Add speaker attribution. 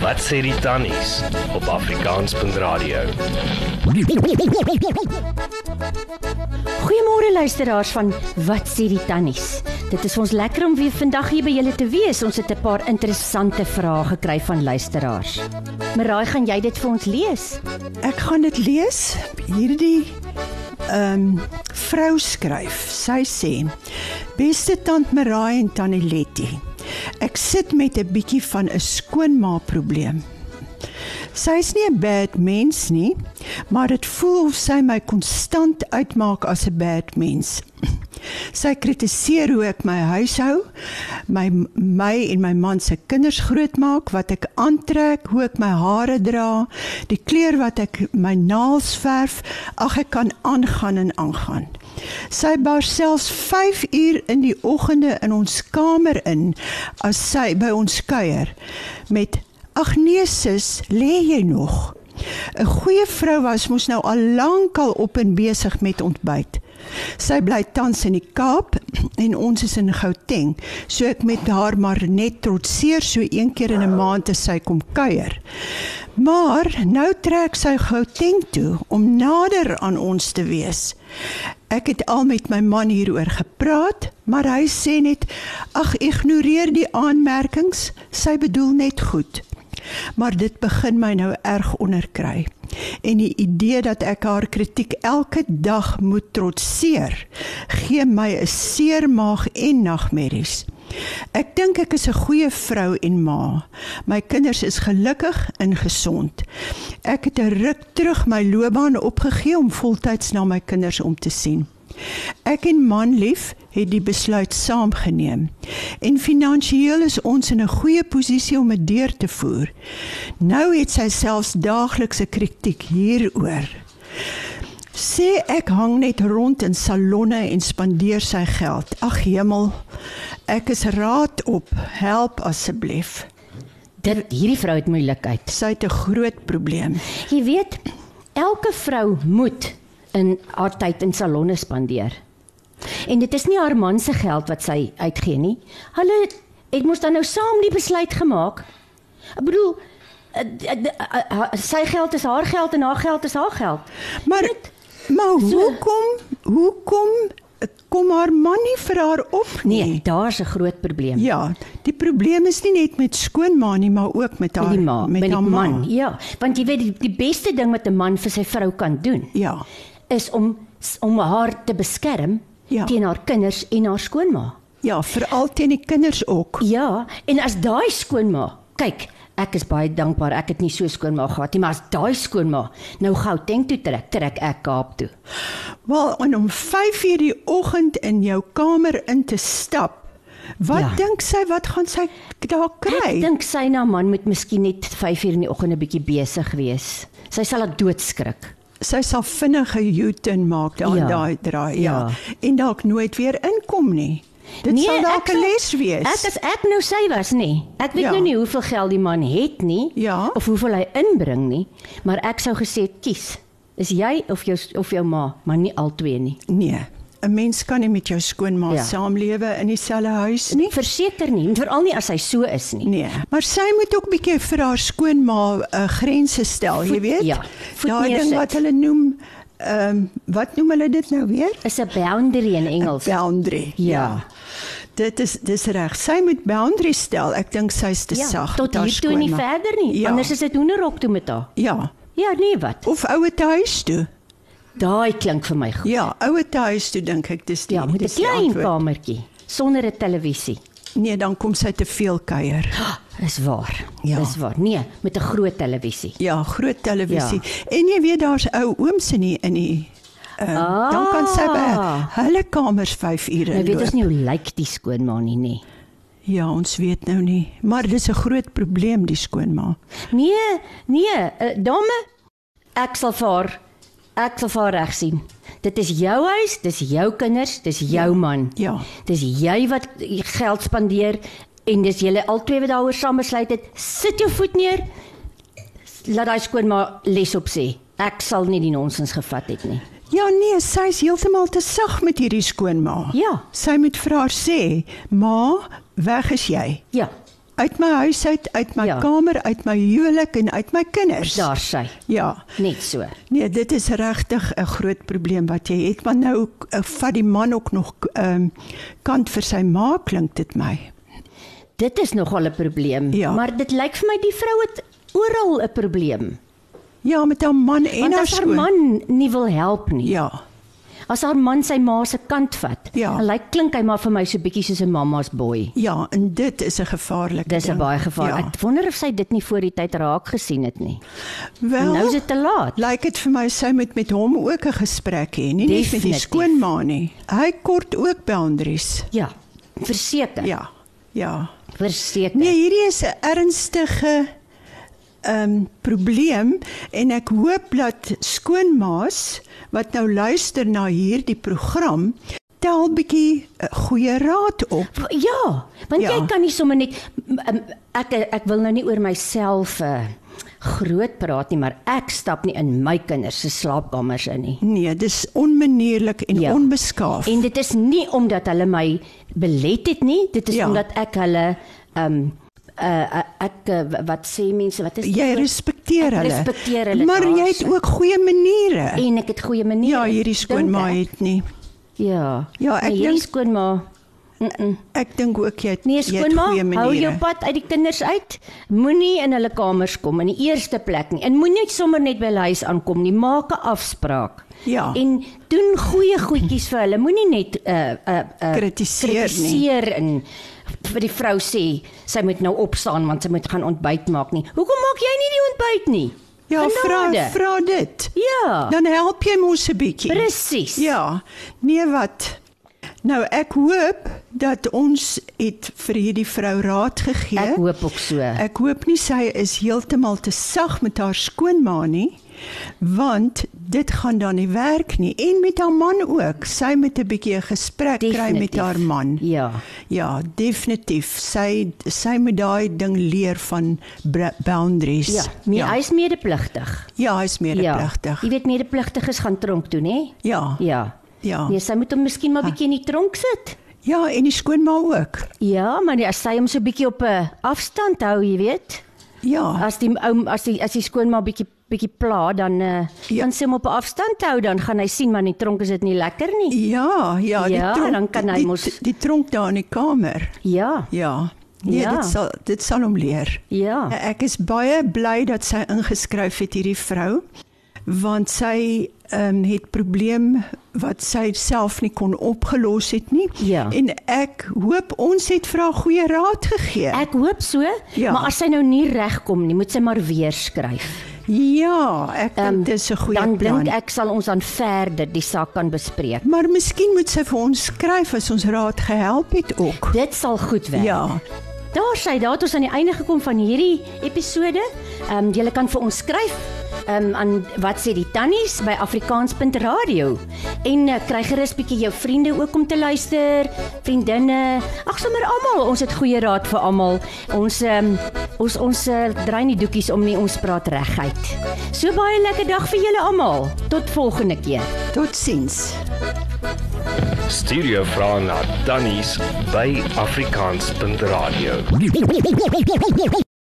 Speaker 1: Wat sê die tannies op Afrikaans.radio?
Speaker 2: Goeiemôre luisteraars van Wat sê die tannies. Dit is ons lekker om weer vandag hier by julle te wees. Ons het 'n paar interessante vrae gekry van luisteraars. Miraai, gaan jy dit vir ons lees?
Speaker 3: Ek gaan dit lees. Hierdie ehm vrou skryf. Sy sê: "Beste tant Marai en tannie Letty. Ek sit met 'n bietjie van 'n skoonma probleem. Sy is nie 'n bad mens nie, maar dit voel of sy my konstant uitmaak as 'n bad mens. Sy kritiseer hoe ek my huis hou, my my en my man se kinders grootmaak, wat ek aantrek, hoe ek my hare dra, die kleur wat ek my naels verf, ag ek kan aangaan en aangaan. Sy bars selfs 5 uur in die oggende in ons kamer in as sy by ons kuier met Ag nee sis, lê jy nog? 'n Goeie vrou was mos nou al lankal op en besig met ontbyt. Sy bly tans in die Kaap en ons is in Gauteng, so ek met haar maar net trotseer so een keer in 'n maand as sy kom kuier. Maar nou trek sy Gauteng toe om nader aan ons te wees. Ek het al met my man hieroor gepraat, maar hy sê net: "Ag, ignoreer die aanmerkings. Sy bedoel net goed." Maar dit begin my nou erg onderkry. En die idee dat ek haar kritiek elke dag moet trotseer, gee my 'n seer maag en nagmerries. Ek dink ek is 'n goeie vrou en ma. My kinders is gelukkig en gesond. Ek het 'n ruk terug my loopbaan opgegee om voltyds na my kinders om te sien. Ek en manlief het die besluit saam geneem. En finansiëel is ons in 'n goeie posisie om dit deur te voer. Nou het sy selfs daaglikse kritiek hieroor. Sê ek hang net rond in salonne en spandeer sy geld. Ag hemel. Ek is raad op. Help asseblief.
Speaker 2: Dit hierdie vrou het moeilikheid.
Speaker 3: Sy het 'n groot probleem.
Speaker 2: Jy weet, elke vrou moet in haar tyd in salonne spandeer. En dit is nie haar man se geld wat sy uitgee nie. Hulle het mos dan nou saam die besluit gemaak. Ek bedoel eh, eh, eh, eh, sy geld is haar geld en haar geld is haar geld.
Speaker 3: Maar
Speaker 2: Net-
Speaker 3: maar hoekom hoekom kom haar man nie vir haar op nie?
Speaker 2: Nee, daar's 'n groot probleem.
Speaker 3: Ja, die probleem is nie net met skoonma nie, maar ook met haar
Speaker 2: met die ma, met,
Speaker 3: met
Speaker 2: met die
Speaker 3: haar
Speaker 2: man.
Speaker 3: ma.
Speaker 2: Ja, want jy weet die, die beste ding wat 'n man vir sy vrou kan doen
Speaker 3: Ja.
Speaker 2: is om om haar te beskerm
Speaker 3: Ja.
Speaker 2: teen haar kinders en haar skoonma.
Speaker 3: Ja, veral teen die kinders ook.
Speaker 2: Ja, en as daai skoonma, kyk, ek is baie dankbaar ek het nie so skoonma gehad nie, maar as daai skoonma nou Gauteng toe trek, trek ek Kaap toe.
Speaker 3: Wel, en om 5:00 die oggend in jou kamer in te stap. Wat
Speaker 2: Ja.
Speaker 3: ja. dink sy wat gaan sy daar
Speaker 2: Ek
Speaker 3: kry?
Speaker 2: dink sy en haar man moet miskien net 5:00 in die oggend 'n bietjie besig wees. Sy sal dit doodskrik.
Speaker 3: Sy sal vinnig 'n U-turn maak daar
Speaker 2: Ja.
Speaker 3: ja. daai draai, ja.
Speaker 2: Ja.
Speaker 3: ja. En dalk nooit weer inkom nie. Dit nee, sal dalk
Speaker 2: ek
Speaker 3: 'n
Speaker 2: sal-
Speaker 3: les wees.
Speaker 2: Ek as ek nou sy was nie. Ek weet
Speaker 3: Ja.
Speaker 2: nou nie hoeveel geld die man het nie
Speaker 3: Ja.
Speaker 2: of hoeveel hy inbring nie, maar ek sou gesê kies. Is jy of jou of jou ma, maar nie albei nie.
Speaker 3: Nee, 'n mens kan nie met jou skoonma
Speaker 2: Ja. Nee.
Speaker 3: ja. saamlewe in dieselfde huis nie.
Speaker 2: Verseker nie, veral nie as hy so is nie.
Speaker 3: Nee, maar sy moet ook bietjie vir haar skoonma uh, grense stel,
Speaker 2: Voet-
Speaker 3: jy weet?
Speaker 2: ja, voet
Speaker 3: Daai ding
Speaker 2: neersit.
Speaker 3: wat hulle noem ehm um, wat noem hulle dit nou weer?
Speaker 2: Is 'n boundary in Engels.
Speaker 3: Boundary.
Speaker 2: Ja.
Speaker 3: Dit is dis reg. Sy moet boundary stel. Ek dink sy's te sag.
Speaker 2: Ja, tot
Speaker 3: met haar
Speaker 2: hier toe en nie
Speaker 3: skoonma.
Speaker 2: verder nie.
Speaker 3: Ja.
Speaker 2: Anders is dit hoenderhok toe met haar.
Speaker 3: Ja.
Speaker 2: Ja, nee wat.
Speaker 3: Of ouer te huis toe.
Speaker 2: Daai klink vir my goed.
Speaker 3: Ja, ouer te huis toe dink ek dis die
Speaker 2: Ja, met 'n
Speaker 3: dis die
Speaker 2: klein
Speaker 3: antwoord.
Speaker 2: kamertjie sonder 'n televisie.
Speaker 3: Nee, dan kom sy te veel kuier.
Speaker 2: Is waar.
Speaker 3: Ja.
Speaker 2: Is waar. Nee, met 'n groot televisie.
Speaker 3: Ja, groot televisie. Ja. En jy weet daar's ou ooms in die in die Uh, ah. Dan kan sy by
Speaker 2: Ah.
Speaker 3: hulle kamers 5 ure
Speaker 2: Nou weet
Speaker 3: inloop.
Speaker 2: ons nie hoe lyk die skoonma nie, nee. nê.
Speaker 3: Ja, ons weet nou nie, maar dis 'n groot probleem die skoonma.
Speaker 2: Nee, nee, uh, damme, ek sal vir haar ek sal vir haar reg sien. Dit is jou huis, dis jou kinders, dis jou man.
Speaker 3: Ja.
Speaker 2: Dis jy wat geld spandeer en dis julle albei wat daaroor saam besluit het. Sit jou voet neer. Laat daai skoonma les op sê. Ek sal nie die nonsens gevat het nie.
Speaker 3: Ja nee, sy is heeltemal te sag met hierdie skoonma.
Speaker 2: Ja.
Speaker 3: Sy moet vir haar sê, "Ma, weg is jy."
Speaker 2: Ja.
Speaker 3: uit my huis uit, uit my
Speaker 2: Ja.
Speaker 3: ja. kamer, uit my huwelik en uit my kinders.
Speaker 2: Daar sy.
Speaker 3: Ja.
Speaker 2: Net so.
Speaker 3: Nee, dit is regtig 'n groot probleem wat jy het, want nou uh, vat die man ook nog ehm um, kant vir sy ma klink dit my.
Speaker 2: Dit is nogal 'n probleem,
Speaker 3: Ja.
Speaker 2: maar dit lyk vir my die vrou het oral 'n probleem.
Speaker 3: Ja, met haar man en
Speaker 2: Want
Speaker 3: haar
Speaker 2: as haar
Speaker 3: skoon.
Speaker 2: man nie wil help nie.
Speaker 3: Ja.
Speaker 2: As haar man sy ma se kant vat.
Speaker 3: Ja.
Speaker 2: dan Lyk klink hy maar vir my so bietjie soos 'n mamma's boy.
Speaker 3: Ja, en dit is 'n gevaarlike
Speaker 2: Dis 'n
Speaker 3: ding.
Speaker 2: baie gevaar.
Speaker 3: Ja.
Speaker 2: Ek wonder of sy dit nie voor die tyd raak gesien het nie. En
Speaker 3: Wel,
Speaker 2: nou is dit te laat.
Speaker 3: Lyk dit vir my sy moet met hom ook 'n gesprek hê, nie net met die
Speaker 2: Definitief.
Speaker 3: skoonma nie. Hy kort ook boundaries.
Speaker 2: Ja. Verseker.
Speaker 3: Ja. Ja.
Speaker 2: Verseker.
Speaker 3: Nee, hierdie is 'n ernstige ehm um, probleem en ek hoop dat skoonmaas wat nou luister na hierdie program tel bietjie eh, goeie raad op.
Speaker 2: W- Ja, want ja.
Speaker 3: Ja.
Speaker 2: jy kan nie sommer net m- m- ek ek wil nou nie oor myself eh, groot praat nie, maar ek stap nie in my kinders se slaapkamers in nie.
Speaker 3: Nee, dis onmanierlik en
Speaker 2: Ja.
Speaker 3: ja. onbeskaaf.
Speaker 2: En dit is nie omdat hulle my belet het nie, dit is ja.
Speaker 3: Ja.
Speaker 2: omdat ek hulle ehm um, uh, ek eh, wat sê mense, wat is die
Speaker 3: jy
Speaker 2: woord?
Speaker 3: respekteer
Speaker 2: Ek
Speaker 3: hulle.
Speaker 2: respekteer hulle
Speaker 3: Maar jy het
Speaker 2: daarse.
Speaker 3: ook goeie maniere.
Speaker 2: en ek het goeie maniere.
Speaker 3: ja, hierdie
Speaker 2: dink
Speaker 3: skoonma
Speaker 2: ek.
Speaker 3: het nie.
Speaker 2: Ja.
Speaker 3: Ja, ek
Speaker 2: nee, hierdie
Speaker 3: dink-
Speaker 2: skoonma. Mm -mm.
Speaker 3: Ek dink ook jy het,
Speaker 2: Nee,
Speaker 3: jy het
Speaker 2: skoonma,
Speaker 3: goeie
Speaker 2: hou jou
Speaker 3: maniere.
Speaker 2: pad uit die kinders uit. Moenie in hulle kamers kom in die eerste plek nie. En moenie sommer net by hulle huis aankom nie. Maak 'n afspraak.
Speaker 3: Ja.
Speaker 2: En doen goeie goedjies vir hulle. Moenie net uh uh, uh
Speaker 3: Kritiseer nie.
Speaker 2: kritiseer en vir die vrou sê sy moet nou opstaan want sy moet gaan ontbyt maak nie. Hoekom maak jy nie die ontbyt nie?
Speaker 3: Ja, vra
Speaker 2: Genade.
Speaker 3: vra dit.
Speaker 2: Ja.
Speaker 3: Dan help jy mos 'n bietjie.
Speaker 2: Presies.
Speaker 3: Ja. Nee, wat? Nou ek hoop dat ons het vir hierdie vrou raad gegee.
Speaker 2: Ek hoop ook so.
Speaker 3: Ek hoop nie sy is heeltemal te sag met haar skoonma nie, want dit gaan dan nie werk nie en met haar man ook. Sy moet 'n bietjie 'n gesprek kry met
Speaker 2: Definitief.
Speaker 3: haar man.
Speaker 2: Ja.
Speaker 3: Ja, definitief. Sy sy moet daai ding leer van bra- boundaries.
Speaker 2: Ja, my ja.
Speaker 3: ja.
Speaker 2: hy's medepligtig.
Speaker 3: ja, hy is medepligtig.
Speaker 2: Ja.
Speaker 3: Ja.
Speaker 2: Jy weet medepligtiges gaan tronk toe, nê?
Speaker 3: Ja. ja.
Speaker 2: Ja.
Speaker 3: Ja.
Speaker 2: Nee, sy moet hom miskien maar bietjie in die tronk sit.
Speaker 3: Ja, en die skoonma ook.
Speaker 2: Ja, maar as sy hom so bietjie op 'n afstand hou, jy weet,
Speaker 3: Ja.
Speaker 2: as die ou as die as die skoonma bietjie bietjie pla dan uh, ja.
Speaker 3: Ja.
Speaker 2: dan sy hom op 'n afstand hou, dan gaan hy sien maar in die tronk is dit nie lekker nie.
Speaker 3: Ja, ja, die
Speaker 2: Ja,
Speaker 3: tronk,
Speaker 2: dan kan hy
Speaker 3: die,
Speaker 2: mos-
Speaker 3: die, die tronk daar in die kamer.
Speaker 2: Ja.
Speaker 3: Ja. Nee,
Speaker 2: Ja.
Speaker 3: ja. dit sal dit sal hom leer. Eh,
Speaker 2: Ja.
Speaker 3: Ek is baie bly dat sy ingeskryf het hierdie vrou want sy ehm um, het probleem wat sy self nie kon opgelos het nie
Speaker 2: Ja.
Speaker 3: en ek hoop ons het vir haar goeie raad gegee.
Speaker 2: Ek hoop so, ja.
Speaker 3: Ja.
Speaker 2: maar as sy nou nie regkom nie, moet sy maar weer skryf.
Speaker 3: ja, ek dink
Speaker 2: Ehm,
Speaker 3: um, dis 'n goeie
Speaker 2: Dan
Speaker 3: plan.
Speaker 2: blink ek sal ons dan verder die saak kan bespreek.
Speaker 3: Maar miskien moet sy vir ons skryf as ons raad gehelp het ook.
Speaker 2: Dit sal goed werk.
Speaker 3: Ja.
Speaker 2: Daar sy, daar het ons aan die einde gekom van hierdie episode. Ehm um, julle kan vir ons skryf ehm um, aan wat sê die tannies by afrikaans.radio en uh, kry gerus bietjie jou vriende ook om te luister, vriendinne, ag sommer almal. Ons het goeie raad vir almal. Ons ehm um, ons ons uh, draai nie doekies om nie, ons praat reguit. So baie lekker dag vir julle almal. Tot volgende keer.
Speaker 3: Totsiens.
Speaker 1: Stuur jou vrae na tannies by afrikaans.radio.